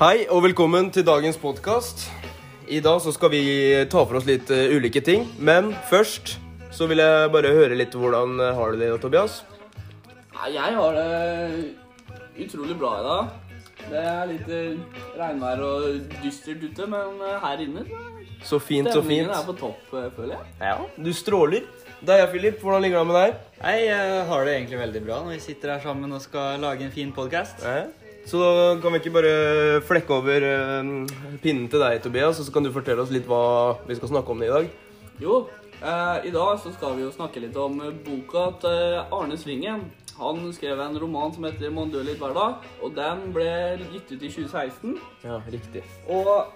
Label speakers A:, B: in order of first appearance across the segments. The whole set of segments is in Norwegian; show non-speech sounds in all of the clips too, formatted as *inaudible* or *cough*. A: Hei og velkommen til dagens podkast. I dag så skal vi ta for oss litt eh, ulike ting. Men først så vil jeg bare høre litt hvordan eh, har du det, Tobias.
B: Nei, jeg har det utrolig bra i dag. Det er litt eh, regnvær og dystert ute, men eh, her inne
A: Så
B: så er
A: fint, så
B: stemningen er
A: fint.
B: på topp, eh, føler jeg.
A: Ja, Du stråler. Det er jeg, Philip. Hvordan ligger det an med deg?
C: Hei, jeg har det egentlig veldig bra når vi sitter her sammen og skal lage en fin podkast.
A: Eh? Så da kan vi ikke bare flekke over eh, pinnen til deg, Tobias, og så kan du fortelle oss litt hva vi skal snakke om i dag.
B: Jo, eh, i dag så skal vi jo snakke litt om eh, boka til eh, Arne Svingen. Han skrev en roman som heter 'Mondølig hverdag', og den ble gitt ut i 2016.
A: Ja, riktig.
B: Og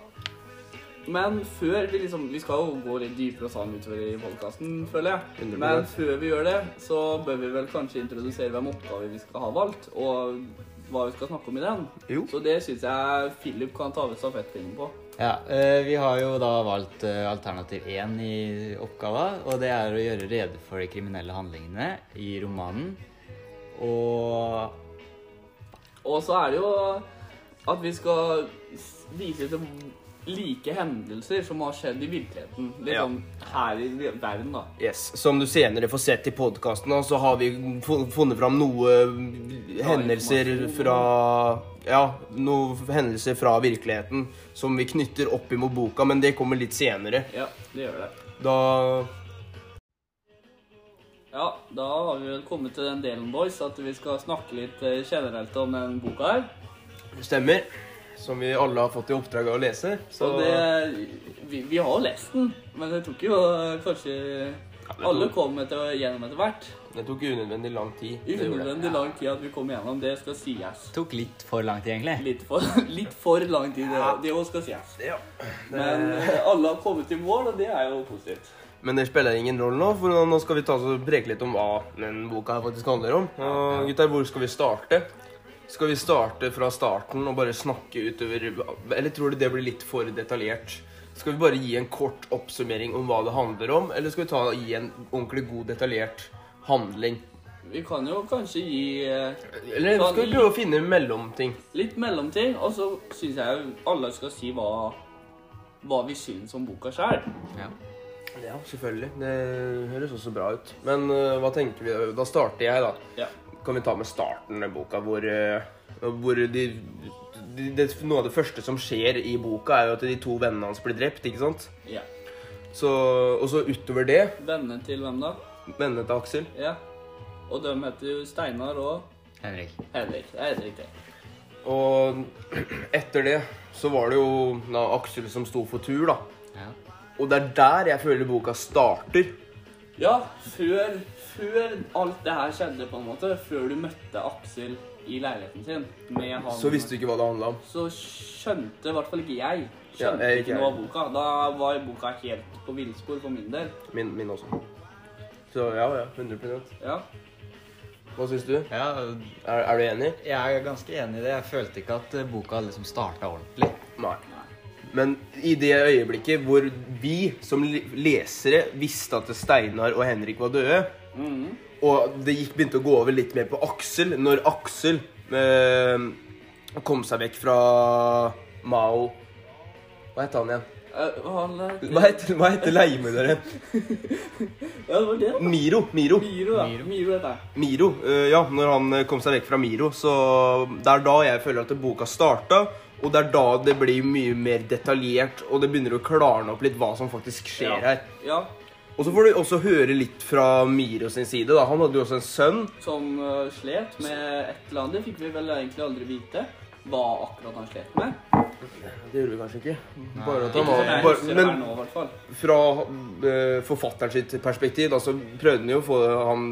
B: Men før vi liksom Vi skal jo gå litt dypere og sånn utover i podkasten, føler jeg.
A: 100%.
B: Men før vi gjør det, så bør vi vel kanskje introdusere hvem oppgave vi skal ha valgt, og hva vi skal snakke om i den.
A: Jo.
B: Så det syns jeg Philip kan ta over stafettpinnen på.
C: Ja, eh, Vi har jo da valgt eh, alternativ én i oppgava, og det er å gjøre rede for de kriminelle handlingene i romanen. Og
B: Og så er det jo at vi skal s- vise til like hendelser som har skjedd i virkeligheten. Litt
A: Ja.
B: sånn her i verden, da.
A: Yes, Som du senere får sett i podkasten, så har vi fu- funnet fram noe hendelser
B: informasjon.
A: fra Ja, noen hendelser fra virkeligheten som vi knytter opp imot boka, men det kommer litt senere.
B: Ja, det gjør det.
A: Da
B: Ja, da har vi vel kommet til den delen, boys, at vi skal snakke litt eh, generelt om den boka her.
A: Stemmer. Som vi alle har fått i oppdrag av å lese.
B: Så det Vi, vi har jo lest den, men det tok jo eh, kanskje
A: tok-
B: Alle kom etter, gjennom etter hvert.
A: det tok unødvendig lang tid. det gjorde det.
B: Unødvendig lang tid at vi kom gjennom. Det skal sies.
C: tok litt for lang tid, egentlig.
B: Litt for, *laughs* litt for lang tid, det, det også skal sies.
A: Ja.
B: Men eh, alle har kommet i mål, og det er jo positivt.
A: Men det spiller ingen rolle nå, for nå skal vi ta oss og preke litt om hva den boka her faktisk handler om. Og gutter, hvor skal vi starte? Skal vi starte fra starten og bare snakke utover Eller tror du det blir litt for detaljert? Skal vi bare gi en kort oppsummering om hva det handler om, eller skal vi ta gi en ordentlig god, detaljert handling?
B: Vi kan jo kanskje gi eh,
A: Eller skal vi prøve å finne mellomting?
B: litt mellomting, og så syns jeg jo alle skal si hva, hva vi syns om boka sjøl.
C: Ja.
A: Ja, selvfølgelig. Det høres også bra ut. Men øh, hva tenker vi? Da starter jeg, da.
B: Ja.
A: kan vi ta med starten av boka, hvor, eh, hvor de, de, det, Noe av det første som skjer i boka, er jo at de to vennene hans blir drept. ikke sant?
B: ja.
A: Så, og så utover det
B: Vennene til hvem da?
A: Vennene til Aksel.
B: Ja. Og de heter jo Steinar og
C: Henrik.
B: Henrik. Det er helt riktig.
A: Og *clears throat* etter det så var det jo da, Aksel som sto for tur, da.
C: Ja.
A: Og det er der jeg føler boka starter.
B: Ja, før, før alt det her skjedde, på en måte, før du møtte Aksel i leiligheten sin med han
A: Så visste du ikke hva det handla om.
B: så skjønte i hvert fall ikke jeg
A: Ja,
B: Skjønte
A: jeg-
B: ikke noe av boka. Da var boka helt på villspor for min del.
A: Min, min også. Så ja, ja. 100
B: Ja.
A: Hva syns du?
C: ja,
A: Er, er du enig?
C: jeg er ganske enig i det. Jeg følte ikke at eh, boka liksom starta ordentlig.
A: Nei. Men i det øyeblikket hvor vi som le- lesere visste at Steinar og Henrik var døde,
B: Mhm.
A: og det gikk, begynte å gå over litt mer på Aksel når Aksel eh, kom seg vekk fra Mao Hva heter han igjen?
B: Eh, han eh,
A: Hva heter, hva heter leiemorderen?
B: Ja, det var det. da.
A: Miro. Miro.
B: Miro, da.
C: Miro.
B: Miro heter jeg.
A: Miro, eh, ja, når han eh, kom seg vekk fra Miro, så det er da jeg føler at boka starta, og det er da det blir mye mer detaljert, og det begynner å klarne opp litt hva som faktisk skjer
B: Ja.
A: her.
B: Ja,
A: Og så får du også høre litt fra Miro sin side, da. Han hadde jo også en sønn.
B: som eh, slet med et eller annet. Det fikk vi vel egentlig aldri vite hva akkurat han slet med.
A: Det gjorde vi kanskje ikke. Bare at han
B: Ikke som jeg
A: var bare,
B: husker det her
A: Men
B: nå, i hvert fall.
A: fra eh, forfatteren sitt perspektiv, da, så prøvde han jo å få han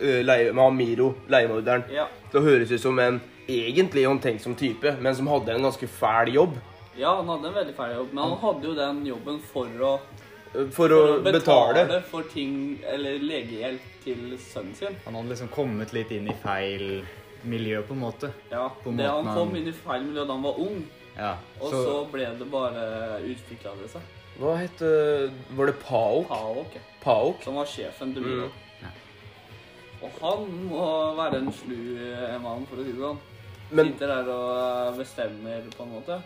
A: eh, leie, med han Miro, leiemorderen,
B: Ja.
A: til å høres ut som en egentlig håndtenksom type, men som hadde en ganske fæl jobb.
B: ja, han hadde en veldig fæl jobb, men han hadde jo den jobben for å,
A: eh, For å betale.
B: for ting, eller legehjelp til sønnen sin.
C: Han hadde liksom kommet litt inn i feil miljø, på en måte.
B: Ja,
C: På
B: det Han
C: måten
B: kom
C: han-
B: inn i feil miljø da han var ung,
C: Ja,
B: og så, ble det bare utvikla det seg.
A: Hva het eh, Var det Paok?
B: Paok, ja,
A: Paok?
B: som var sjefen til Milo.
A: Mm.
B: Og han må være en slu eh, mann, for å si det sånn.
A: Men
B: Sitter der og eh, bestemmer, på en måte.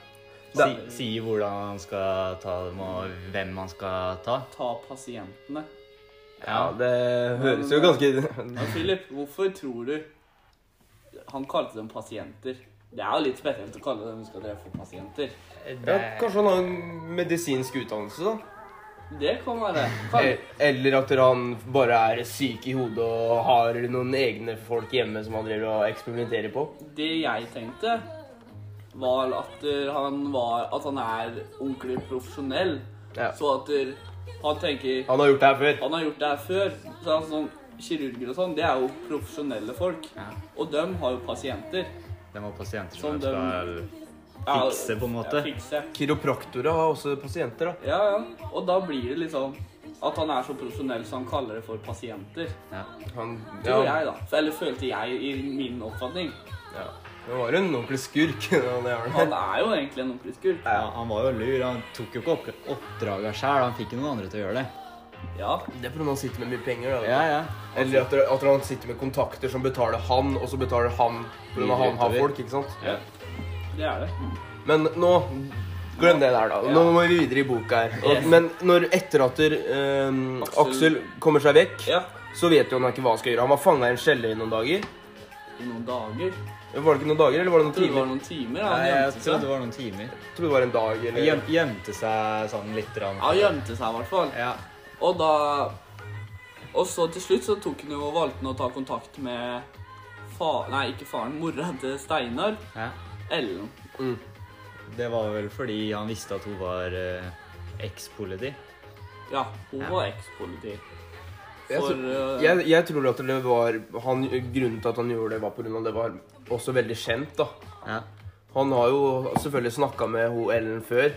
C: Si, sier hvordan han skal ta dem, og hvem han skal ta.
B: Ta pasientene.
A: ja, det høres jo ganske
B: Men Philip, hvorfor tror du han kalte dem pasienter? Det er jo litt spesielt å kalle dem som skal drepe for pasienter.
A: ja, Kanskje han har en medisinsk utdannelse, da?
B: Det kan være.
A: Eh,
B: Kan,
A: Eller at han bare er syk i hodet og har noen egne folk hjemme som han driver og eksperimenterer på.
B: det jeg tenkte, var at eh, han, var, at han er ordentlig profesjonell.
A: Ja.
B: Så at eh, han tenker
A: Han har gjort det her før.
B: Han har gjort det her før. Så han sånn, Kirurger og sånn, det er jo profesjonelle folk.
C: Ja.
B: Og dem har jo pasienter.
C: Det var pasienter
B: Som
C: som
B: dem-
C: skal
B: Ja,
C: fikse, på en måte.
B: Ja, fikse.
A: Kiropraktorer har også pasienter, da.
B: Ja, ja. Og da blir det liksom at han er så profesjonell så han kaller det for pasienter.
C: Ja.
A: Han,
B: Tror
A: ja,
B: jeg, da. For- Eller følte jeg i min oppfatning.
A: ja. Han var en ordentlig skurk. *laughs* ja, det er
C: *laughs*
B: Han
A: han.
B: er jo egentlig en ordentlig skurk.
C: Ja, han var jo lur. Han tok jo ikke opp- oppdraga sjøl. Han fikk jo noen andre til å gjøre det.
B: Ja.
A: Det er fordi han sitter med mye penger. da.
C: Ja, ja.
A: Eller at, at han sitter med kontakter som betaler han, og så betaler han fordi
C: Videre
A: han har
C: utover.
A: folk. ikke sant?
C: ja.
B: Det er det.
A: Men nå Glem det der, da. Nå må vi videre i boka her. Og,
B: Yes.
A: Men når etter at ehm,
B: Aksel-
A: Aksel kommer seg vekk,
B: Ja.
A: så vet jo han ikke hva han skal gjøre. Han var fanga i en kjeller i noen dager.
B: I noen dager.
A: Var det ikke noen dager, eller var det noen
B: Trodde det
A: timer?
B: var noen timer. da.
C: Nei,
B: Han
C: jeg
B: gjemte
C: trodde
B: seg.
C: det var noen timer.
A: Jeg tror det var en dag,
C: Han
A: eller
C: gjem, gjemte seg sånn litt. Rann.
B: Ja, han gjemte seg i hvert fall.
C: Ja.
B: Og da Og så til slutt så tok han jo og valgte han å ta kontakt med fa... Nei, ikke faren. Mora til Steinar.
C: ja.
B: Ellen.
C: Det var vel fordi han visste at hun var eh, eks-politi.
B: Ja, hun
C: Ja.
B: var ekspoliti.
A: Jeg
B: For
A: tror-
B: eh,
A: jeg, jeg tror at det var han, Grunnen til at han gjorde det, var pga. det var også veldig kjent. da.
C: Ja.
A: Han har jo selvfølgelig snakka med ho Ellen før.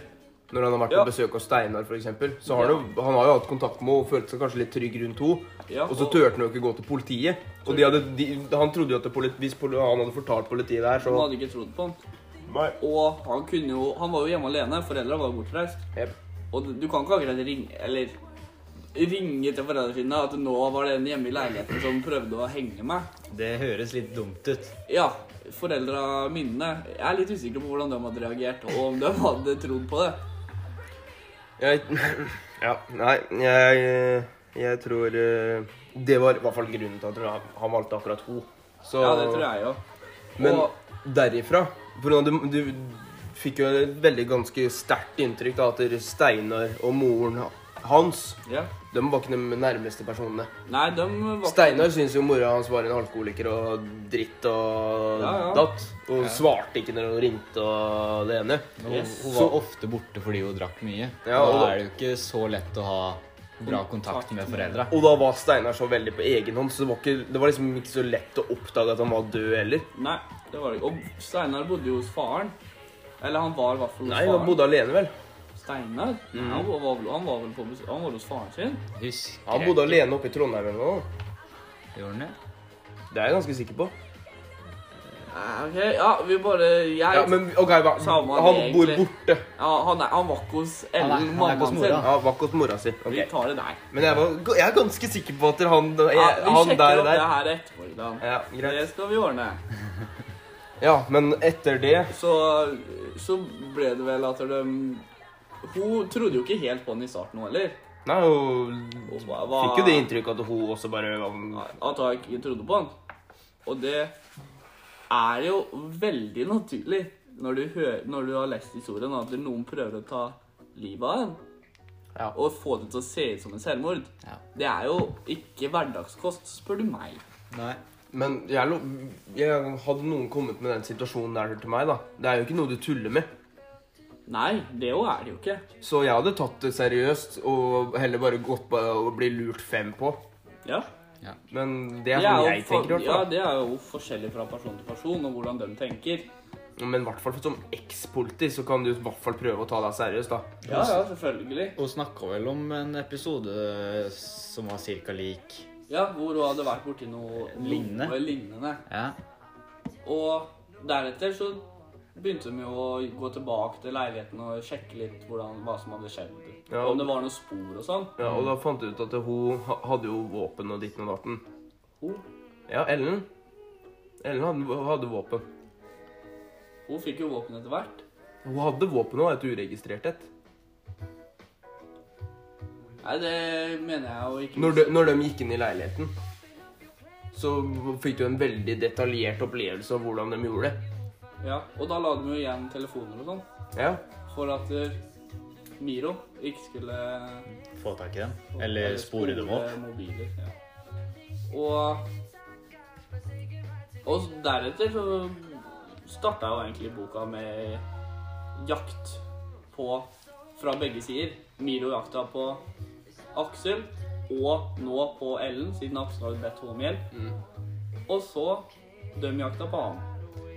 A: Når han har vært
B: Ja.
A: på besøk hos Steinar, f.eks. Så har han, jo, han har jo hatt kontakt med henne og følte seg kanskje litt trygg rundt henne.
B: ja,
A: Og så turte han jo ikke gå til politiet. Og de hadde, de, han trodde jo at det poli- hvis poli- han hadde fortalt politiet det her,
B: Hun
A: så
B: hadde ikke trodd på han.
A: Nei.
B: Og han kunne jo Han var jo hjemme alene. Foreldra var jo bortreist.
A: Jep.
B: Og du- du kan ikke akkurat ringe Eller ringe til foreldrene sine at nå var det en hjemme i leiligheten som prøvde å henge meg.
C: Det høres litt dumt ut.
B: Ja, foreldra mine Jeg er litt usikker på hvordan de hadde reagert, og om de hadde trodd på det.
A: Jeg, *clears throat* ja, nei, jeg, jeg tror eh, Det var i hvert fall grunnen til at han- han valgte akkurat henne. Så
B: Ja, det tror jeg jo.
A: Men
B: Og-
A: derifra For nå, du, du fikk jo et veldig ganske sterkt inntrykk da, at dere Steinar og moren hans
B: Ja.
A: de var ikke de nærmeste personene.
B: Nei, de var
A: Steinar syntes jo mora hans var en alkoholiker og dritt og
B: Ja, ja.
A: datt. Og svarte ikke når hun ringte og det ene.
C: Hun,
B: Yes.
C: hun
A: Så-
C: var ofte borte fordi hun drakk mye.
A: Ja,
C: og
A: og-
C: da er det jo ikke så lett å ha bra kontakt med foreldra.
A: Og da var Steinar så veldig på egen hånd, så det var, ikke, det var liksom ikke så lett å oppdage at han var død heller.
B: Nei, det var det ikke. Og Steinar bodde jo hos faren. Eller han var i hvert fall hos
A: Nei,
B: faren.
A: han bodde alene, vel.
B: Steinar? Nei, Han, var, vel- han var vel på besøk Han var hos faren sin?
C: Husker
A: Han bodde alene oppe i Trondheim eller noe.
C: Gjorde han det?
A: Det er jeg ganske sikker på.
B: Nei, Ah, ok, ja, vi bare Jeg
A: Ja, men ok, hva?
B: Samme det,
A: Han bor
B: egentlig.
A: borte.
B: Ja, han, er, han var ikke hos
C: er- han er
B: Ellen,
C: ikke hos
B: mammaen sin.
C: mora.
A: Ja, var ikke hos mora si.
B: Vi
A: Ok.
B: tar det der.
A: Men jeg, var, jeg er ganske sikker på at han,
B: Ja,
A: jeg,
B: vi
A: han
B: sjekker
A: der
B: opp
A: der Eh,
B: det her etterpå. Ilan.
A: Ja, greit.
B: Det skal vi ordne.
A: Ja, men etter det
B: Så, så ble det vel at de Hun trodde jo ikke helt på han i starten, hun heller.
A: Nei, hun
B: Hun ba- var-
A: fikk jo det inntrykket at hun også bare var
B: At hun ikke trodde på han. Og det er jo veldig naturlig når du, hører, når du har lest historien, at noen prøver å ta livet av en.
A: Ja.
B: Og få det til å se ut som en selvmord.
C: Ja.
B: Det er jo ikke hverdagskost, spør du meg.
C: Nei.
A: Men jeg, lo, jeg hadde noen kommet med den situasjonen der til meg, da. Det er jo ikke noe du tuller med.
B: Nei, det jo er det jo ikke.
A: Så jeg hadde tatt det seriøst og heller bare gått på å bli lurt fem på.
B: Ja.
A: Men det er
B: Det er
A: sånn
B: jo
A: jeg
B: for-
A: tenker, i
B: ja,
A: hvert fall.
B: det er jo forskjellig fra person til person, og hvordan de tenker.
A: Men i hvert fall som ekspoliti så kan du i hvert fall prøve å ta deg seriøst, da.
B: Ja, ja, selvfølgelig.
C: Hun snakka vel om en episode som var cirka lik.
B: Ja, hvor hun hadde vært borti noe
C: Lignende.
B: noe lignende.
C: Ja.
B: Og deretter så begynte de jo å gå tilbake til leiligheten og sjekke litt hvordan, hva som hadde skjedd.
A: Ja.
B: Om det var noen spor og sånn.
A: Ja, og da fant jeg ut at hun ha- hadde jo våpen og ditten og datten.
B: Hun,
A: Ja, Ellen. Ellen hadde, hadde våpen.
B: Hun fikk jo våpen etter hvert.
A: Hun hadde våpen og et uregistrert et.
B: Nei, det mener jeg jo ikke.
A: Når de, når de gikk inn i leiligheten, så fikk du en veldig detaljert opplevelse av hvordan de gjorde det.
B: Ja, Og da la de jo igjen telefoner og sånn.
A: Ja.
B: For at eh, Miro ikke skulle
C: Få tak i dem. Eller spore dem opp.
B: Mobiler, ja. Og Og deretter så starta jo egentlig boka med jakt på Fra begge sider. Miro jakta på Aksel, og nå på Ellen, siden Aksel hadde bedt henne om hjelp.
C: Mm.
B: Og så de jakta på han.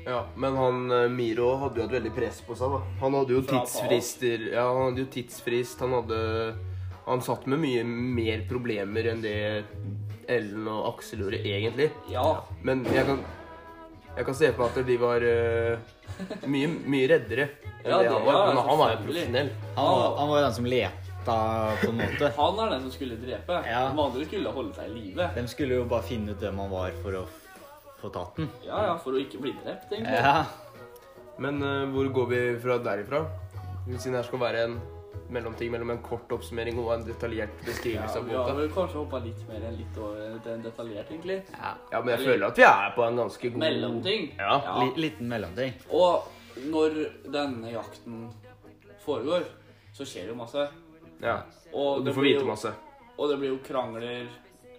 A: ja. Men han eh, Miro hadde jo hatt veldig press på seg, da. Han hadde jo
B: Fra Paas.
A: tidsfrister. Ja, han hadde jo tidsfrist. Han hadde Han satt med mye mer problemer enn det Ellen og Aksel gjorde, egentlig.
B: Ja.
A: Men jeg kan Jeg kan se på at de var eh, mye, mye reddere enn
B: Ja,
A: det han
B: det-
A: var.
B: ja,
A: Men han var jo
B: selvfølgelig.
A: profesjonell.
C: Han var, han var jo den som leta, på en måte.
B: Han er den som skulle drepe.
C: Ja.
B: De andre skulle holde seg i live.
C: De skulle jo bare finne ut hvem han var for å f- få tatt den.
B: Ja, ja, for å ikke bli drept, egentlig.
C: Ja.
A: Men eh, hvor går vi fra derifra? Siden her skal være en mellomting mellom en kort oppsummering og en detaljert
B: Ja,
A: beskrivelse av
B: vi har
A: boka.
B: vel kanskje hoppa litt mer enn litt over til en detaljert, egentlig.
C: ja.
A: Ja, men jeg føler at vi er på en ganske god
B: Mellomting.
A: Mm. Ja.
B: Ja.
C: Li- Liten mellomting.
B: Og når denne jakten foregår, så skjer det jo masse.
A: ja. Og du
B: det
A: får
B: blir jo-
A: vite masse.
B: Og det blir jo krangler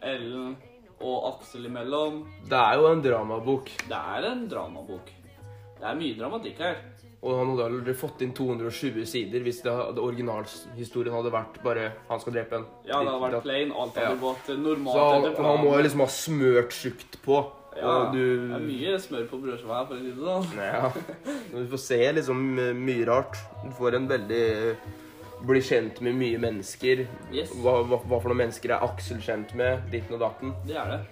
B: Ellen og Aksel imellom.
A: Det er jo en dramabok,
B: Det er en dramabok. Det er mye dramatikk her.
A: og han hadde aldri fått inn 220 sider hvis det hadde, originalhistorien hadde vært bare 'han skal drepe en'.
B: Ja, det har vært plain, alt har
A: Ja.
B: gått
A: Så
B: normalt
A: han,
B: etter
A: han må jo
B: planen.
A: liksom ha smørt tjukt på.
B: Ja,
A: og
B: Det er
A: du
B: mye smør på brødskiva her, for å si det sånn.
A: Ja. Du får se liksom eh, mye rart. Du får en veldig eh, Bli kjent med mye mennesker.
B: Yes.
A: Hva, hva, hva for noen mennesker er Aksel kjent med? Ditten og datten.
B: Det er det.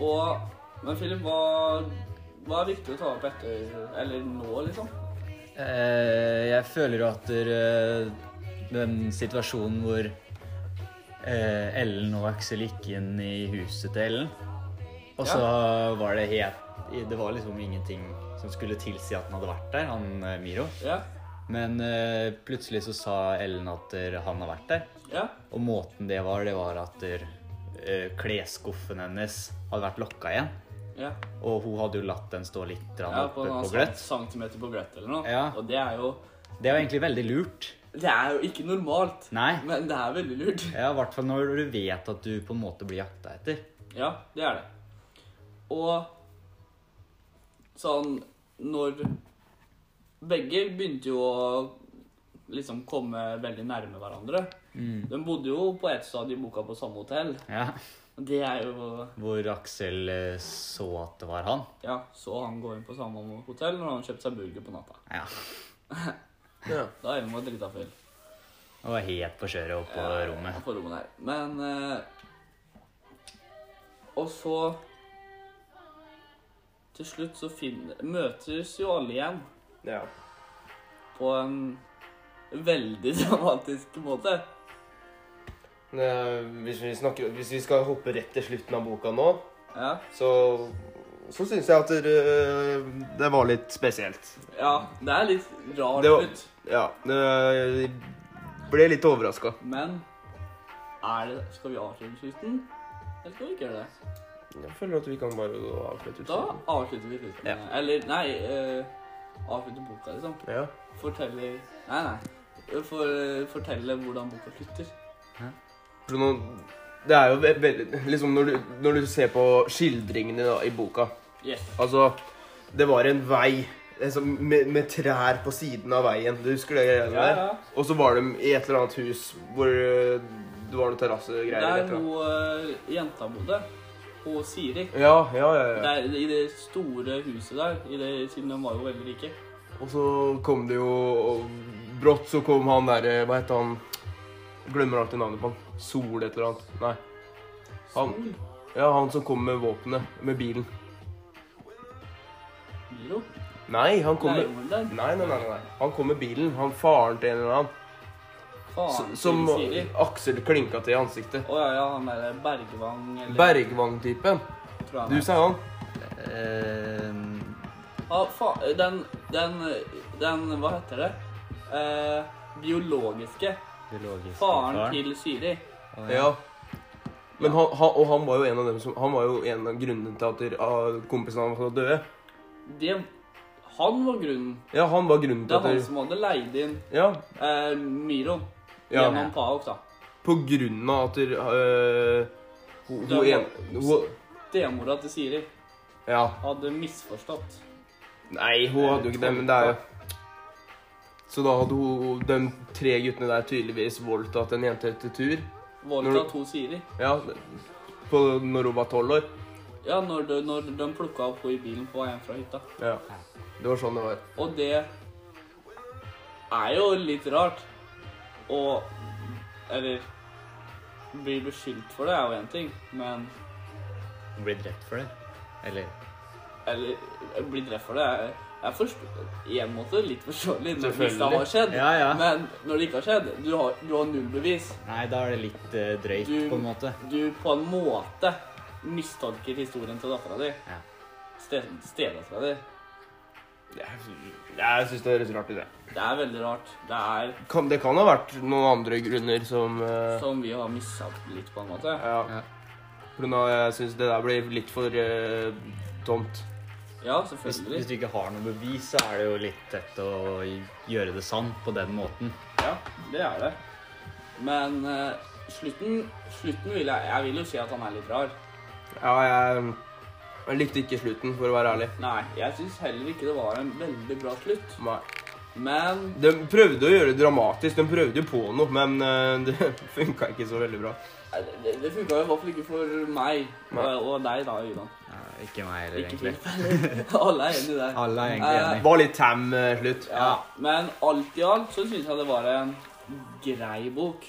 B: Og, men Philip, hva, hva er viktig å ta opp etter, eller nå, liksom?
C: Eh, jeg føler jo at eh, den situasjonen hvor eh, Ellen og Aksel gikk inn i huset til Ellen, og så var det helt Det var liksom ingenting som skulle tilsi at han hadde vært der, han eh, Miro.
B: Ja,
C: Men eh, plutselig så sa Ellen at eh, han har vært der.
B: ja,
C: Og måten det var, det var at eh, klesskuffen hennes hadde vært lokka igjen.
B: ja.
C: Og hun hadde jo latt den stå litt grann
B: Ja, på
C: oppe
B: en
C: på
B: annen
C: gløtt.
B: centimeter på gløtt eller noe.
C: Ja.
B: Og det er jo
C: Det var egentlig veldig lurt.
B: Det er jo ikke normalt,
C: Nei.
B: men det er veldig lurt.
C: Ja, I hvert fall når du vet at du på en måte blir jakta etter.
B: Ja, det er det. Og sånn når Begge begynte jo å liksom komme veldig nærme hverandre.
C: Mm.
B: De bodde jo på ett stadium i boka på samme hotell.
C: Ja.
B: Det er jo
C: Hvor Aksel eh, så at det var han.
B: Ja, så han går inn på samme hotell når han kjøpte seg burger på natta.
C: Ja.
A: Ja.
B: Da er vi med drita full.
C: Og var helt på kjøret oppe på
B: Ja,
C: rommet.
B: på rommet der. Men eh, Og så Til slutt så finner, møtes jo alle igjen
A: ja.
B: på en veldig *laughs* dramatisk måte.
A: Eh, Hvis, vi snakker, hvis vi skal hoppe rett til slutten av boka nå,
B: Ja.
A: så så syns jeg at eh, det var litt spesielt.
B: ja det er litt rart
A: Det var-
B: ut,
A: Ja. eh, Jeg ble litt overraska.
B: men er det, skal vi avslutte slutten? Eller skal vi ikke gjøre det?
A: Jeg føler at vi kan bare avslutte.
B: Da avslutter vi slutten.
A: Ja.
B: Eller nei eh, Avslutte boka, liksom.
A: Ja.
B: Fortelle Nei, nei. For, eh, fortelle hvordan boka slutter.
A: For noen- Det er jo ve- veldig liksom når, du, når du ser på skildringene da, i boka
B: Yes.
A: Altså, det var en vei liksom, med, med trær på siden av veien. Du husker det greiene
B: Ja,
A: der?
B: ja.
A: Og så var de i et eller annet hus hvor øh, det var noen terrassegreier. eller et eller
B: Der hun
A: annet.
B: eh, jenta bodde, hun Siri
A: Ja, ja, ja. ja.
B: der, I det store huset der, i det, siden de var jo veldig rike.
A: Og så kom det jo og Brått så kom han derre Hva heter han? Glemmer alltid navnet på han. Sol et eller annet. Nei. Han, ja, han som kom med våpenet. Med bilen.
B: Miro.
A: Nei, han kom med
B: Leiemorderen der.
A: Nei, nei, nei, nei. Han kom med bilen. Han faren til en eller annen.
B: Faen,
A: s- Som
B: til Siri.
A: Aksel klinka til i ansiktet.
B: Å ja, ja, han derre Bergvang eller
A: Bergvang-typen.
B: tror jeg han
A: Du
B: er.
A: sa han.
C: Eh,
B: Ja, faen, den Den, den Hva heter det? Eh, biologiske
C: Biologisk
B: faren til Siri.
C: Å, ja.
A: Ja. Men han, han, og han var jo en av dem som Han var jo en av grunnene til at der- av kompisene hans var døde.
B: Det, han var grunnen.
A: Ja, han var grunnen
B: Det
A: til
B: er
A: at
B: han
A: der-
B: som hadde leid inn
A: Ja,
B: eh, Miro
A: Ja.
B: gjennom Paok, da.
A: på grunn av at der, øh, hun, hun
B: Det
A: en, hun,
B: Stemora til Siri
A: Ja.
B: hadde misforstått.
A: Nei, hun hadde jo ikke det, men det er jo Så da hadde hun de tre guttene der tydeligvis voldtatt en jente etter tur. Når
B: Voldta
A: du-
B: to Siri.
A: Ja, på, når hun var tolv år.
B: Ja, når de, når de plukka opp henne i bilen på vei hjem fra hytta.
A: Ja. Det var sånn det var.
B: Og det er jo litt rart å Eller bli beskyldt for det er jo én ting, men
C: Hun ble drept for det. Eller
B: Eller bli drept for det er jeg forstår, i en måte litt forståelig når hvis det
A: Selvfølgelig.
B: har skjedd,
C: Ja, ja.
B: men når det ikke har skjedd Du har, du har null bevis.
C: Nei, da er det litt eh, drøyt,
B: Du-
C: på en måte.
B: Du på en måte mistolker historien til dattera di.
C: Ja.
B: Ste, Stedattera di.
A: Jeg syns det høres rart ut, det.
B: Det er veldig rart. Det er
A: Kan, det kan ha vært noen andre grunner som eh,
B: som vi har missa litt, på en måte.
A: Ja.
C: Ja.
A: For nå, jeg syns det der blir litt for eh, tomt.
B: Ja,
C: Hvis, hvis
B: selvfølgelig.
C: du ikke har noe bevis, så er det jo litt tett å gjøre det sant på den måten.
B: Ja, det er det. Men eh, slutten Slutten vil jeg Jeg vil jo si at han er litt rar.
A: Ja, jeg, jeg likte ikke slutten, for å være ærlig.
B: Nei, jeg syns heller ikke det var en veldig bra slutt.
A: Nei.
B: Men
A: De prøvde å gjøre det dramatisk, de prøvde jo på noe, men eh, det *laughs* funka ikke så veldig bra.
B: Nei, det- eh, det, det funka i hvert fall ikke for meg
A: Nei.
B: og, og deg, da, Ivan.
C: Nei, ikke meg heller,
B: Ikke
C: egentlig.
B: Filip. *laughs* Alle er enig der.
C: Alle er egentlig
B: Eh,
C: enige.
A: Var litt tam eh, slutt.
B: Ja. Men alt i alt så syns jeg det var en grei bok.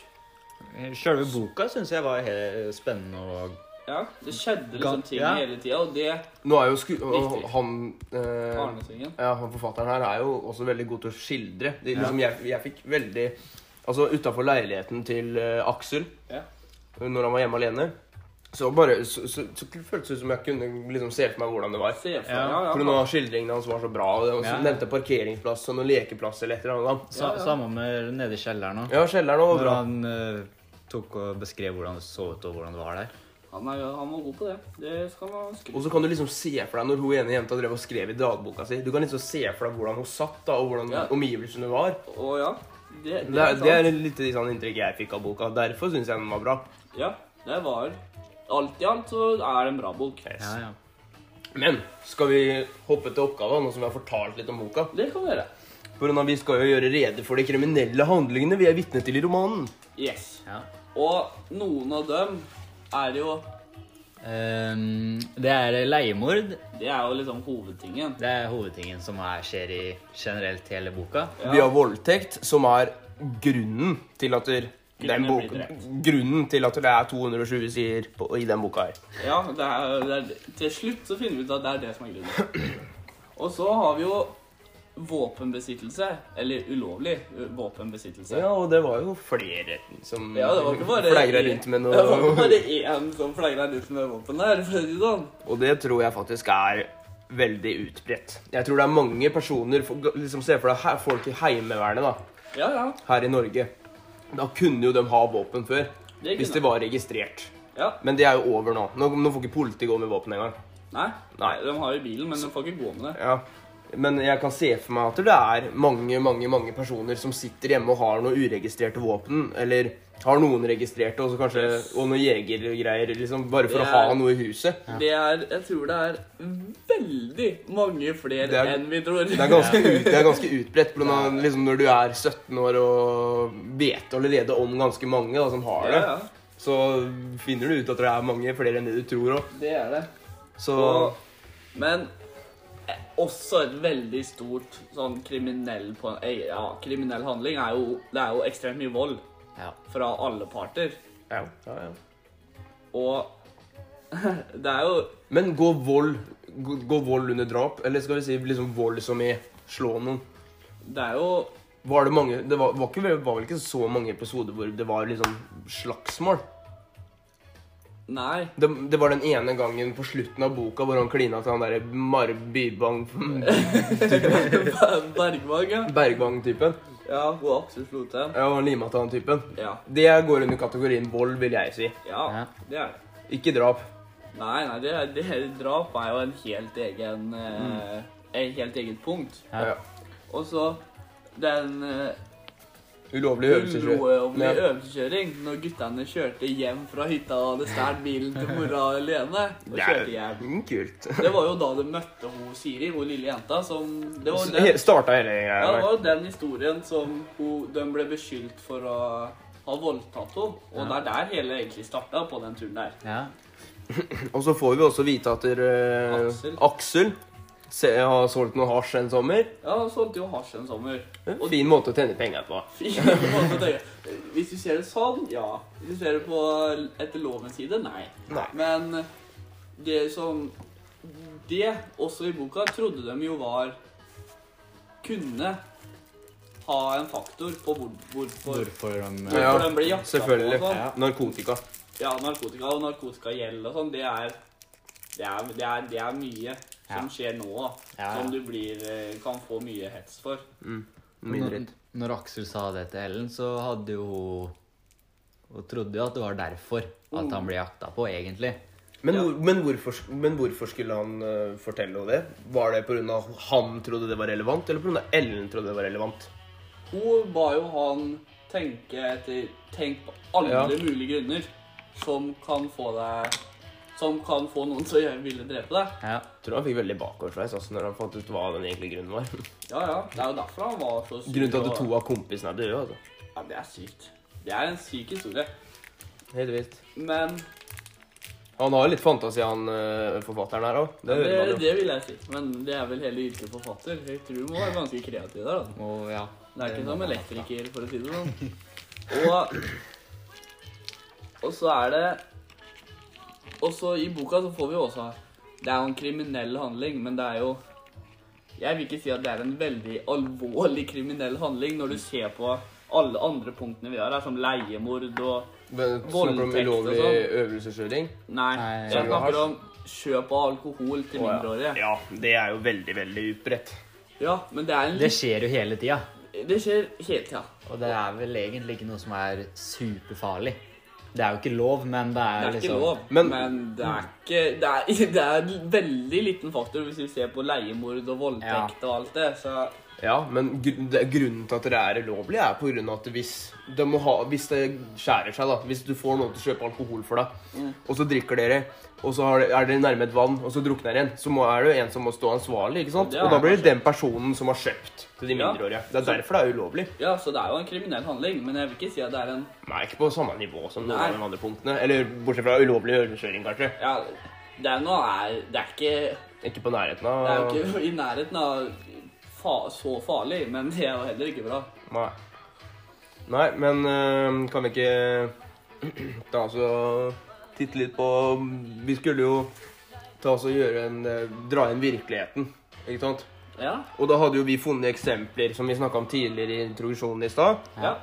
C: Sjølve boka syns jeg var he- spennende og
B: Ja, Det skjedde
C: Ga-
B: liksom ting
C: ja.
B: hele tida, og det
A: Nå er jo sku...
B: Riktig.
A: Han eh,
B: Arnesvingen.
A: ja, han forfatteren her er jo også veldig god til å skildre. Det, liksom, jeg, jeg fikk veldig Altså utafor leiligheten til eh, Aksel,
B: Ja.
A: når han var hjemme alene, så bare Så, så, så føltes det ut som jeg kunne liksom se for meg hvordan det var.
B: Se for
C: Ja,
B: ja, ja,
A: For noen av skildringene hans var så bra. Og det var-
C: Ja.
A: Nevnte parkeringsplass og noen lekeplass eller et eller annet.
C: Sa,
B: Ja, ja.
C: Samme med nede i kjelleren òg.
A: Ja, kjelleren var
C: Når
A: bra.
C: han eh, tok og beskrev hvordan det så ut og hvordan det var der.
B: Han, er, han var god på det. Det skal man skryte
A: Og så kan du liksom se for deg når hun ene jenta drev og skrev i dagboka si. Du kan liksom se for deg hvordan hun satt, da, og hvordan
B: Ja.
A: omgivelsene var.
B: Og ja, det, det,
A: Det, er- det
B: sant.
A: er litt det sånn inntrykk jeg fikk av boka. Derfor syns jeg den var bra.
B: Ja, det var Alt i alt så er det en bra bok.
C: Ja, ja.
A: Men skal vi hoppe til oppgava nå som vi har fortalt litt om boka?
B: Det kan være.
A: For nå, vi skal jo gjøre rede for de kriminelle handlingene vi er vitne til i romanen.
B: Yes.
C: ja.
B: Og noen av dem er jo
C: Ehm, det er leiemord.
B: Det er jo liksom hovedtingen.
C: Det er hovedtingen som er, skjer i generelt hele boka.
A: Vi har voldtekt, som er grunnen til at der, den
B: Grunnen
A: boka-
B: blir drept.
A: Grunnen til at det er 220 sider på, i den boka her.
B: Ja, det er, det er, til slutt så finner vi ut at det er det som er grunnen. Og så har vi jo våpenbesittelse. Eller ulovlig ø, våpenbesittelse.
A: Ja, og det var jo flere som
B: Ja, det var ikke bare
A: flagra rundt *laughs* med
B: *laughs* Det var ikke
A: noe.
B: bare én som flagra rundt med våpen der, for å si det sånn.
A: Og det tror jeg faktisk er veldig utbredt. Jeg tror det er mange personer for- liksom Se for deg he- folk i Heimevernet da,
B: Ja, ja.
A: her i Norge. Da kunne jo de ha våpen før,
B: Det
A: hvis
B: kunne
A: det var registrert.
B: ja.
A: Men det er jo over nå. Nå, nå får ikke politiet gå med våpen engang.
B: Nei,
A: Nei.
B: de har jo bilen, men de får ikke gå med det.
A: Ja. Men jeg kan se for meg at det er mange mange, mange personer som sitter hjemme og har noen uregistrerte våpen. Eller har noen registrerte, og, så kanskje, og noen jegergreier. Liksom, bare for
B: Det
A: å
B: er-
A: ha noe i huset.
B: Det er, Jeg tror det er veldig mange
A: Det
B: flere
A: er-
B: enn vi tror.
A: Det er
B: *laughs*
A: ganske, ut, det er ganske utbredt. Blant annet liksom, når du er 17 år og vet allerede om ganske mange da, som har
B: ja,
A: det,
B: ja,
A: så finner du ut at det er mange flere enn det du tror òg.
B: det er det.
A: Så
B: Og, men eh, også et veldig stort sånn kriminell på, eh, ja, kriminell handling er jo, det er jo ekstremt mye vold
C: Ja.
B: fra alle parter.
A: ja, ja, ja.
B: Og *laughs* det er jo
A: Men går vold, gå- går vold under drap? Eller skal vi si liksom vold som i slå noen?
B: Det er jo
A: Var det mange Det var, var, ikke, vel- var vel ikke så mange episoder hvor det var liksom slagsmål?
B: Nei. *laughs*
A: Det, det var den ene gangen på slutten av boka hvor han klina til han derre Mare Bybang *laughs*
B: Bergvang, ja.
A: Bergvang-typen.
B: Ja, hun Aksel Flotheim.
A: Ja, og han lima til han typen.
B: Ja.
A: Det går under kategorien vold, vil jeg si.
B: ja,
C: Ja.
B: det er det.
A: Ikke drap.
B: Nei, nei, det, er- det her drap er jo en helt egen eh, En helt eget punkt.
C: Ja.
A: Ja.
B: Og så den eh,
A: Ulovlig
B: ulovlige
A: øvelseskjøring.
B: eh, øvelseskjøring når guttene kjørte hjem fra hytta og hadde stjålet bilen til mora alene. og
A: Det
B: kjørte hjem.
A: er mm, kult.
B: *laughs* Det var jo da de møtte hun Siri, hun lille jenta, som Det var jo
A: He-
B: den,
A: Starta hele
B: ja, det
A: greia.
B: var jo den historien som hun, de ble beskyldt for å ha voldtatt henne. Og det er der hele egentlig starta, på den turen der.
C: Ja.
A: Og så får vi også vite at eh,
B: Aksel.
A: Aksel se, har solgt noe hasj en sommer.
B: Ja, hun solgte jo hasj en sommer.
A: En fin måte å tjene penger på.
B: Fy, på en måte å tenke. Hvis du ser det sånn, ja. Hvis du ser det på etter lovens side, nei.
A: Nei.
B: Men det som Det, også i boka, trodde de jo var Kunne ha en faktor på hvor, hvorfor,
C: Hvorfor eh, de
A: Ja.
B: hvorfor de ble jakta
A: Selvfølgelig.
B: på. og sånn.
A: Narkotika.
B: Ja, narkotika og narkotikagjeld og sånn, det er det er, det, er, det er mye som
C: Ja.
B: skjer nå, da,
C: Ja, ja.
B: som du blir, eh, kan få mye hets for.
A: Min
C: når,
B: Mm.
A: rett.
C: når Aksel sa det til Ellen, så hadde jo hun Hun trodde jo at det var derfor at han ble jakta på, egentlig.
A: Men,
B: Ja.
A: hvor- men, hvorfor, men hvorfor skulle han eh, fortelle henne det? Var det pga. han trodde det var relevant, eller pga. Ellen trodde det var relevant?
B: Hun ba jo han tenke etter Tenk på alle
A: Ja.
B: mulige grunner som kan få deg Som kan få noen til å gjøre- ville drepe deg.
C: Ja.
A: Jeg tror han fikk veldig bakoversveis altså, når han fant ut hva den egentlige grunnen var.
B: Ja, ja. Det er jo derfor han var så
A: *laughs*
B: sur.
A: Grunnen til at
B: og-
A: to av kompisene er døde. Altså.
B: Ja, det er sykt. Det er en syk historie.
A: Helt vilt.
B: Men
A: Han har litt fantasi, han eh, forfatteren her òg. Det
B: det,
A: hører man jo.
B: det vil jeg si. Men det er vel hele yrket forfatter. Jeg tror du må være ganske kreativ der. da.
C: Og ja.
B: Det er
C: det
B: ikke
C: må
B: som
C: man ha.
B: elektriker, for å si det sånn.
A: *laughs*
B: Og, og så er det Og så i boka så får vi jo også Det er jo en kriminell handling, men det er jo Jeg vil ikke si at det er en veldig alvorlig kriminell handling når du ser på alle andre punktene vi har her, som leiemord og
A: Men Snakker om
B: Voldtekt og
A: ulovlig
B: sånn.
A: øvelseskjøring.
B: Nei,
C: Nei,
B: jeg
A: ja.
B: snakker om kjøp av alkohol
A: Å, ja.
B: til mindreårige.
A: Ja, det er jo veldig, veldig utbredt.
B: Ja, men det er en
C: Det skjer jo hele tida.
B: litt Det skjer hele tida.
C: Og det er vel egentlig ikke noe som er superfarlig. Det er jo ikke lov, men det er,
B: Det sånn? er ikke
C: liksom
B: lov, men,
A: Men-
B: det er ikke det er, *laughs* det er en veldig liten faktor hvis vi ser på leiemord og voldtekt og alt det. Så
A: Ja, men gr det, grunnen til at det er ulovlig, er på grunn av at hvis det, må ha, hvis det skjærer seg, da Hvis du får noen til å kjøpe alkohol for deg, og så drikker dere, og så har det- er dere nærme et vann, og så drukner dere igjen, så må, er det jo en som må stå ansvarlig, ikke sant?
B: Ja,
A: og da blir det den personen som har kjøpt til de
B: Ja.
A: mindreårige. Det er derfor det er ulovlig.
B: ja, så det er jo en kriminell handling, men jeg vil ikke si at det er en
A: Nei, ikke på samme nivå som noen
B: Nei.
A: av de andre punktene. Eller bortsett fra ulovlig øvelseskjøring, kanskje.
B: Ja, det er noe er Det er ikke
A: Ikke på nærheten
B: Det er
A: av
B: jo ikke i nærheten av fa, så farlig, men det er jo heller ikke bra.
A: Nei. Nei, men øh, kan vi ikke *clears throat* ta oss og titte litt på Vi skulle jo ta oss og gjøre en øh, dra inn virkeligheten, ikke sant?
B: Ja.
A: Og da hadde jo vi funnet eksempler som vi snakka om tidligere i introduksjonen i stad,
B: ja.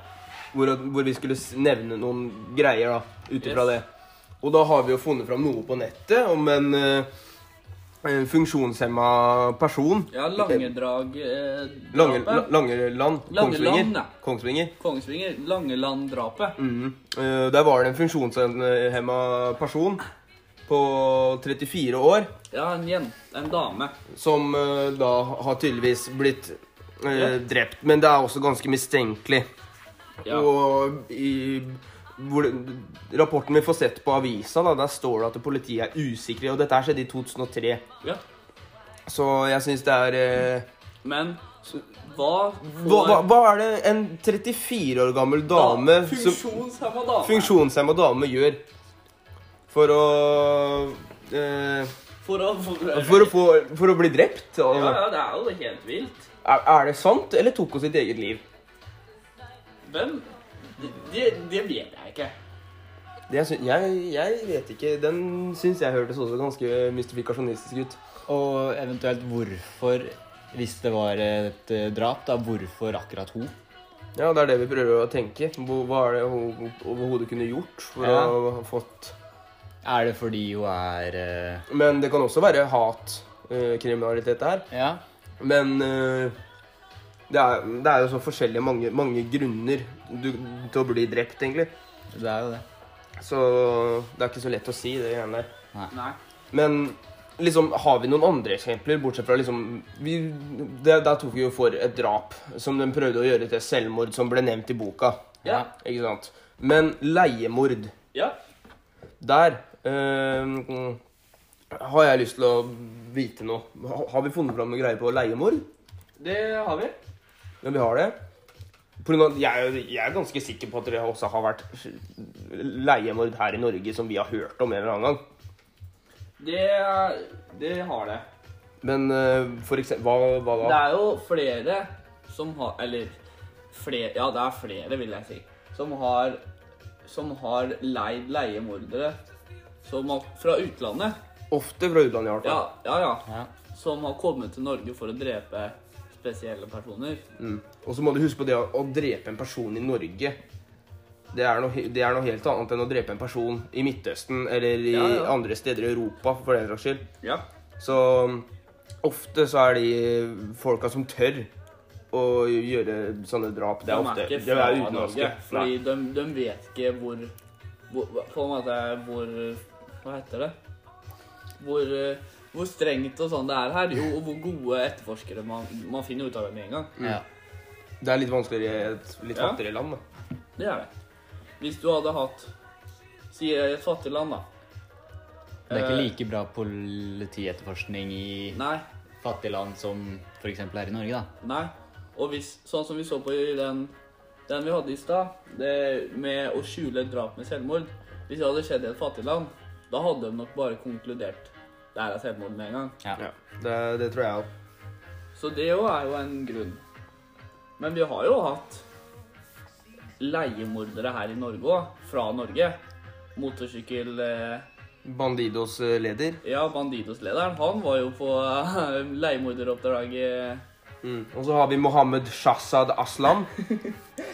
A: hvor, hvor vi skulle s- nevne noen greier da, ut ifra
B: Yes.
A: det. Og da har vi jo funnet fram noe på nettet om en, øh, en funksjonshemma person.
B: Ja, Langedrag eh,
A: Lange,
B: drapet.
A: Langeland,
B: Langeland,
A: Kongsvinger.
B: ja.
A: Kongsvinger.
B: Kongsvinger. Langeland-drapet.
A: Mhm. Eh, der var det en funksjonshemma person på 34 år
B: Ja, en jente. En dame.
A: som eh, da har tydeligvis blitt eh,
B: Ja.
A: drept. Men det er også ganske mistenkelig.
B: Ja.
A: Og i hvor, rapporten vi får sett på avisa, da, der står det at politiet er usikre. Og dette her skjedde i 2003.
B: ja.
A: Så jeg syns det er eh,
B: Men hva
A: hva,
B: får-
A: hva, hva er det en 34 år gammel dame som
B: Funksjonshemma dame.
A: funksjonshemma dame gjør for å eh,
B: For å, for,
A: for, å få, for å bli drept?
B: ja,
A: Altså.
B: ja, det er jo helt vilt.
A: Er, er det sant, eller tok hun sitt eget liv?
B: Men det, det vet jeg ikke.
A: Det sy jeg, jeg vet ikke. Den syns jeg hørtes også ganske mystifikasjonistisk ut.
C: Og eventuelt hvorfor, hvis det var et eh, drap, da hvorfor akkurat hun?
A: Ja, det er det vi prøver å tenke. Hva, hva er det hun overhodet kunne gjort for
C: Ja.
A: å ha fått
C: Er det fordi hun er eh,
A: Men det kan også være hatkriminalitet her.
C: Ja.
A: Men eh, det, er, det er jo så forskjellige mange, mange grunner du, til å bli drept, egentlig.
C: Det er jo det.
A: Så det er ikke så lett å si, det greiene der.
B: Nei.
A: Men liksom, har vi noen andre eksempler, bortsett fra liksom vi, det, Der tok vi jo for et drap som de prøvde å gjøre til selvmord, som ble nevnt i boka.
B: Ja.
A: Ikke sant? Men leiemord
B: Ja.
A: Der eh, har jeg lyst til å vite noe. Ha- Har vi funnet fram noen greier på leiemord?
B: Det har vi.
A: Ja, vi har det. På grunn av, jeg, er- jeg er ganske sikker på at det også har vært leiemord her i Norge som vi har hørt om en eller annen gang.
B: Det, det har det.
A: Men eh, for eksempel Hva, hva
B: Det
A: da?
B: er jo flere som har Eller flere, ja, det er flere, vil jeg si. Som har, som har leid leiemordere som har, fra utlandet.
A: Ofte fra utlandet, i hvert
B: Ja,
A: fall.
B: ja, ja.
C: Ja.
B: Som har kommet til Norge for å drepe spesielle personer.
A: Mm. Og så må du huske på det å, å drepe en person i Norge. Det er, noe, he- det er noe helt annet enn å drepe en person i Midtøsten eller i
B: Ja, ja.
A: andre steder i Europa, for den saks skyld.
B: Ja.
A: Så um, ofte så er de folka som tør å gjøre sånne drap. Det
B: De
A: er
B: er
A: ofte
B: ikke
A: det
B: fra
A: er
B: Norge.
A: utenlandske.
B: Fordi
A: Nei.
B: de, de vet ikke hvor, hvor På en måte hvor Hva heter det? Hvor, eh, hvor strengt og sånn det er her. Jo, og hvor gode etterforskere man, man finner ut av det med en gang.
C: ja.
A: Det er litt vanskeligere i et litt
B: Ja.
A: fattigere land, da.
B: Det er det. Hvis du hadde hatt Sier jeg et fattig land, da.
C: Det er ikke
B: Eh,
C: like bra politietterforskning i
B: Nei.
C: fattige land som f.eks. her i Norge, da.
B: Nei. Og hvis Sånn som vi så på i den, den vi hadde i stad, det med å skjule et drap med selvmord Hvis det hadde skjedd i et fattig land, da hadde de nok bare konkludert det her er selvmord med en gang.
A: Ja. Det, det tror jeg òg.
B: Så det jo er jo en grunn. Men vi har jo hatt leiemordere her i Norge òg, fra Norge. Motorsykkel... Eh,
A: Bandidos eh, leder.
B: Ja, Bandidos-lederen, han var jo på eh, leiemorderoppdrag eh,
A: Mm. Og så har vi Mohammed Shahzad Aslam,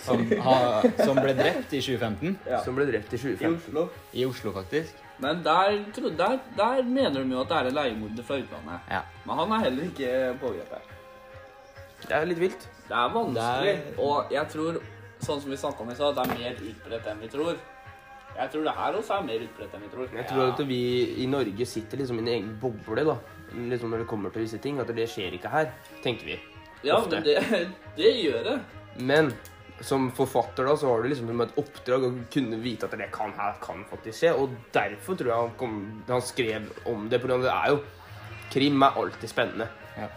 C: Som, ha, som ble drept i 2015.
B: *laughs* Ja.
A: som ble drept i
B: i
A: 2015.
B: Oslo.
C: I Oslo, faktisk.
B: Men der, tro- der, der mener de jo at det er en leiemorder fra utlandet.
C: Ja.
B: Men han er heller ikke pågrepet.
A: Det er litt vilt.
B: Det er vanskelig,
C: Det
B: og jeg tror, sånn som vi snakka om i stad, det er mer utbredt enn vi tror. Jeg tror det her også er mer utbredt enn vi tror.
A: Jeg tror at vi i Norge sitter liksom i en egen boble, da. Liksom når det kommer til visse ting. At det skjer ikke her, tenker vi.
B: Ja,
A: ofte.
B: men det, *laughs* det gjør det.
A: Men som forfatter da, så har du liksom som et oppdrag å kunne vite at det kan her kan faktisk skje. Og derfor tror jeg han, kom, han skrev om det. På grunn av det er jo Krim er alltid spennende.
C: Ja.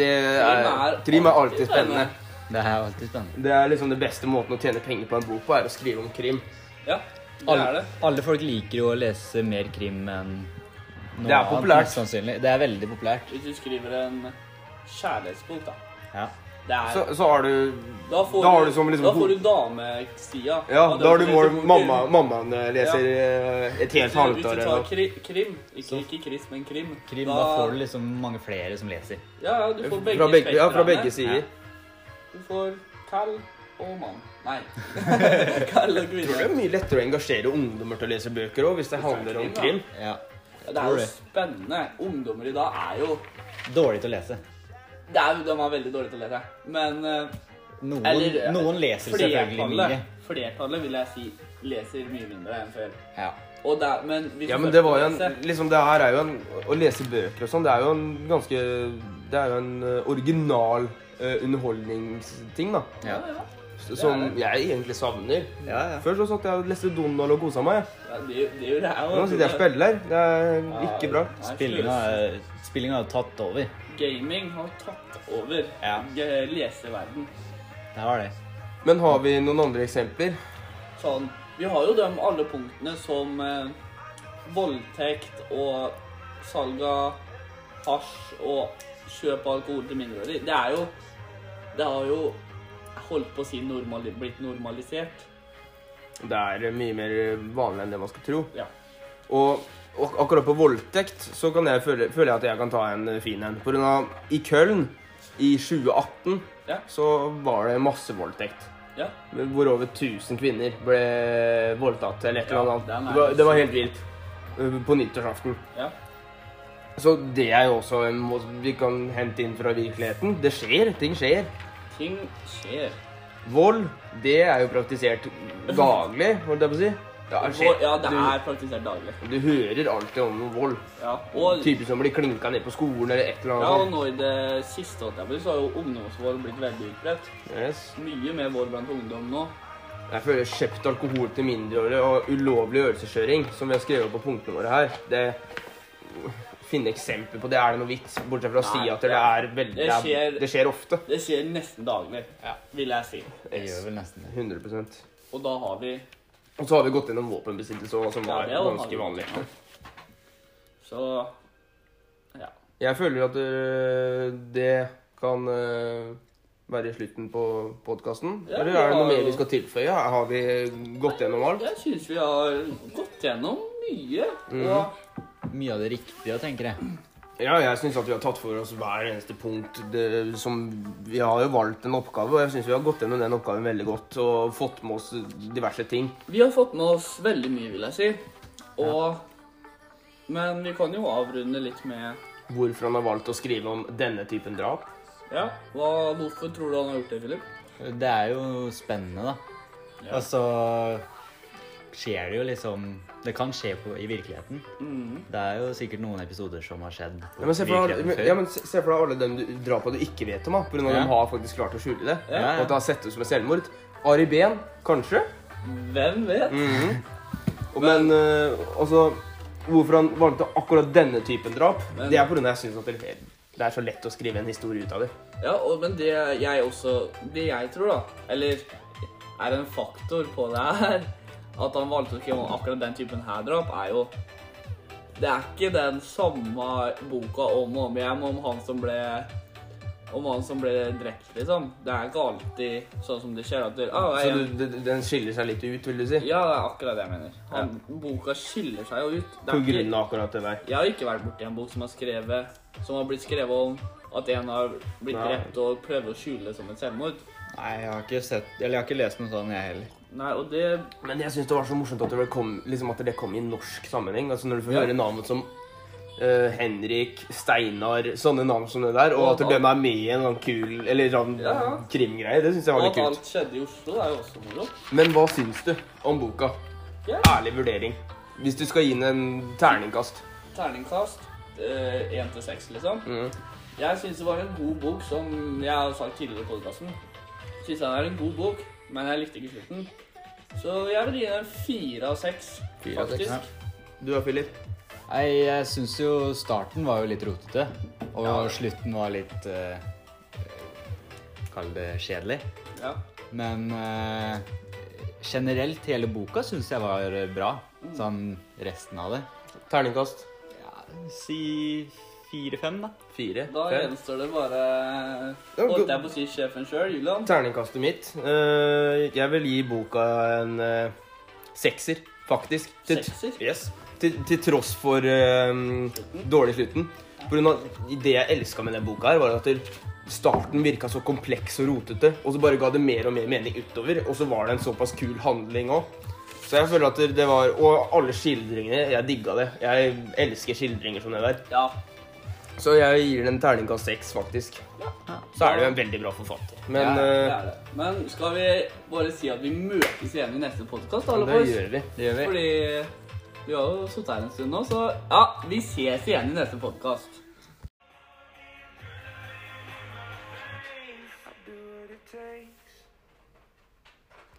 A: Det er, krim, er alltid spennende.
C: Det her er alltid spennende.
A: Det er liksom det beste måten å tjene penger på en bok på, er å skrive om krim.
B: Ja, det er
C: Alle,
B: det.
C: alle folk liker jo å lese mer krim enn noe
A: Det er populært.
C: mest sannsynlig. Det er veldig populært.
B: Hvis du skriver en kjærlighetsbok, da.
C: Ja.
B: Det er
A: Så, så har du
B: Da får,
A: Da har
B: du,
A: du som liksom
B: da
A: ho-
B: får du damesida.
A: Ja, da har du mål mamma,
B: mamma
A: Mammaen leser eh, et helt
B: liksom- Hvis
A: halvt
B: du
A: år
B: tar
A: eller noe.
B: kri, krim, ikke, ikke Chris, men krim
C: Krim, da får du liksom mange flere som leser.
B: Ja, ja, du får begge,
A: Fra begge, ja, fra
B: spektrene.
A: begge sider.
B: Du får kall og mann. Nei. *laughs* kall og
A: Jeg tror det
B: kvinne.
A: er mye lettere å engasjere ungdommer til å lese bøker òg, hvis det handler om krim.
C: Ja.
B: Det er
C: Tror
B: jo
C: det.
B: spennende. Ungdommer i dag er jo
C: Dårlig til å lese.
B: det er, jo- De er veldig dårlige til å lese. Men eh,
C: Noen,
B: Eller-
C: noen leser selvfølgelig mye.
B: flertallet, flertallet vil jeg si leser mye mindre enn før.
C: Ja.
B: Og der, men hvis
A: Ja,
B: du
A: men
B: først
A: det var jo en
B: leser-
A: Liksom, det her er jo en Å lese bøker og sånn, det er jo en ganske Det er jo en eh, original eh, underholdningsting, da.
C: Ja.
B: ja, ja.
A: s- Som jeg egentlig savner.
C: Ja, ja.
A: Før så satt jeg og leste Donald og kosa meg. jeg.
B: Ja, det, det gjør jeg
A: Nå sitter jeg og spiller her. Det er ikke bra.
C: Spillinga er- spillinga har jo tatt over.
B: Gaming har tatt over
C: Ja.
B: ge- leseverden.
C: Det har det.
A: Men har vi noen andre eksempler?
B: Sånn, vi har jo de alle punktene som eh, voldtekt og salg av hasj og kjøp av alkohol til mindreårige. Det er jo Det har jo holdt på å si normali blitt normalisert.
A: Det er eh, mye mer vanlig enn det man skal tro.
B: Ja.
A: Og, ak- akkurat på voldtekt så kan jeg føle, føler jeg at jeg kan ta en eh, fin en. På grunn av i Køln i 2018
B: Ja.
A: så var det massevoldtekt.
B: ja.
A: Hvor over 1000 kvinner ble voldtatt eller et eller
B: Ja,
A: annet.
B: den er
A: Det var, det var helt vilt. eh, på nyttårsaften.
B: Ja.
A: Så det er jo også en må- vi kan hente inn fra virkeligheten. Det skjer. Ting skjer.
B: Ting skjer.
A: Vold, det er jo praktisert daglig, holdt jeg på å si. Ja, det skjer.
B: Ja, det er praktisert daglig.
A: Du, du hører alltid om noe vold.
B: Ja. Og,
A: Typer som blir klinka ned på skolen eller et eller
B: ja, og
A: annet.
B: nå i det siste holdt jeg på, så har jo ungdomsvold blitt veldig utbredt.
A: sånt. Yes.
B: Mye mer vold blant ungdom nå.
A: Jeg føler kjøpt alkohol til mindreårige og ulovlig øvelseskjøring, som vi har skrevet på punktene våre her, det finne eksempler på det. Er det noe vits? Bortsett fra å si
B: Nei,
A: at det er veldig
B: det skjer-
A: det skjer ofte.
B: Det skjer nesten daglig, vil jeg si.
C: Det gjør vel nesten det.
A: 100
B: Og da har vi
A: Og så har vi gått gjennom våpenbesittelse òg, som
B: Ja,
A: var
B: det var
A: ganske
B: vanlig.
A: vanlig.
B: Så ja.
A: Jeg føler at øh, det kan øh, være slutten på podkasten.
B: Ja,
A: Eller
B: vi
A: er det
B: har
A: noe mer
B: jo-
A: vi skal tilføye? Har vi gått gjennom alt?
B: Jeg syns vi har gått gjennom mye. Og
C: Mye av det riktige, tenker jeg.
A: Ja, jeg syns at vi har tatt for oss hver eneste punkt det, som Vi har jo valgt en oppgave, og jeg syns vi har gått gjennom den oppgaven veldig godt og fått med oss diverse ting.
B: vi har fått med oss veldig mye, vil jeg si. Og Men vi kan jo avrunde litt med
A: Hvorfor han har valgt å skrive om denne typen drap.
B: Ja, hva, hvorfor tror du han har gjort det, Philip?
C: Det er jo spennende, da. Og så skjer det jo liksom Det kan skje på, i virkeligheten. Det er jo sikkert noen episoder som har skjedd på
A: Ja, men se for
C: virkeligheten
A: deg,
C: før.
A: ja, men se se for deg alle dem du- drapa du ikke vet om, da, på grunn av
C: Ja.
A: at de har faktisk klart å skjule det.
C: Ja, ja.
A: Og at det har sett ut som et selvmord. Ari Behn, kanskje.
B: Hvem vet?
C: Mhm.
A: Og, men øh, altså Hvorfor han valgte akkurat denne typen drap,
B: Men-
A: det er pga. jeg syns at det, det er så lett å skrive en historie ut av det.
B: Ja, og, men det jeg også Det jeg tror, da, eller er en faktor på det her, at han valgte å skrive om akkurat den typen her drap, er jo Det er ikke den samme boka om og om igjen om han som ble om han som ble drept, liksom. Det er ikke alltid sånn som det skjer. at det, ah,
A: Så
B: jeg,
A: du, d- d- den skiller seg litt ut, vil du si?
B: Ja, det er akkurat det jeg mener. Han, Boka skiller seg jo ut. Det er
A: På
B: ikke-
A: grunn av akkurat det der.
B: Jeg har ikke vært borti en bok som har skrevet Som har blitt skrevet om at en har blitt
A: Nei.
B: drept og prøver å skjule det som et selvmord.
C: Nei, jeg har ikke sett Eller jeg har ikke lest noe sånn, jeg heller.
B: Nei, og det
A: Men jeg syns det var så morsomt at det kom, liksom at det kom i norsk sammenheng. Altså Når du får
B: Ja.
A: høre navn som eh, Henrik, Steinar, sånne navn som det der. Og at
B: Og
A: de er med i en sånn kul eller sånn
B: Ja, ja.
A: krimgreie. Det syns jeg var
B: At
A: litt kult.
B: alt skjedde i Oslo, er jo også moro.
A: Men hva syns du om boka?
B: Ja.
A: Ærlig vurdering. Hvis du skal gi den en terningkast.
B: Terningkast én til seks, liksom.
A: Mm.
B: Jeg syns det var en god bok, som jeg har sagt tidligere i podkasten. Syns jeg det er en god bok, men jeg likte ikke slutten. Så jeg vil gi den fire av seks,
A: Fire av seks,
B: faktisk.
A: Du da, Philip?
C: Nei, jeg syns jo starten var jo litt rotete. Og slutten var litt eh, Kall det kjedelig.
B: Ja.
C: Men eh, generelt, hele boka syns jeg var bra. Sånn resten av det.
A: Terningkast.
C: Ja, si fire-fem, da.
A: Fire.
B: Da
A: fem.
B: gjenstår det bare
A: Ja,
B: Holdt
A: god-
B: jeg på å si sjefen sjøl, Julian?
A: Terningkastet mitt. eh, jeg vil gi boka en eh, sekser, faktisk.
B: Sekser?
A: Yes. Til, til tross for eh, dårlig slutten. På grunn av det jeg elska med den boka, her var at det- starten virka så kompleks og rotete. Og så bare ga det mer og mer mening utover. Og så var det en såpass kul handling òg. Så jeg føler at det- det var Og alle skildringene. Jeg digga det. Jeg elsker skildringer som det der.
B: Ja.
A: Så jeg gir den terningkast seks, faktisk. Så er det jo en veldig bra forfatter. Men
C: Ja,
B: Det
A: eh,
B: er det. Men skal vi bare si at vi møtes igjen i neste podkast,
A: det,
B: alle boys?
A: gjør vi.
C: Det gjør vi.
B: Fordi vi har jo sittet her en stund nå, så ja, vi ses igjen i neste podkast.
D: I do what it takes.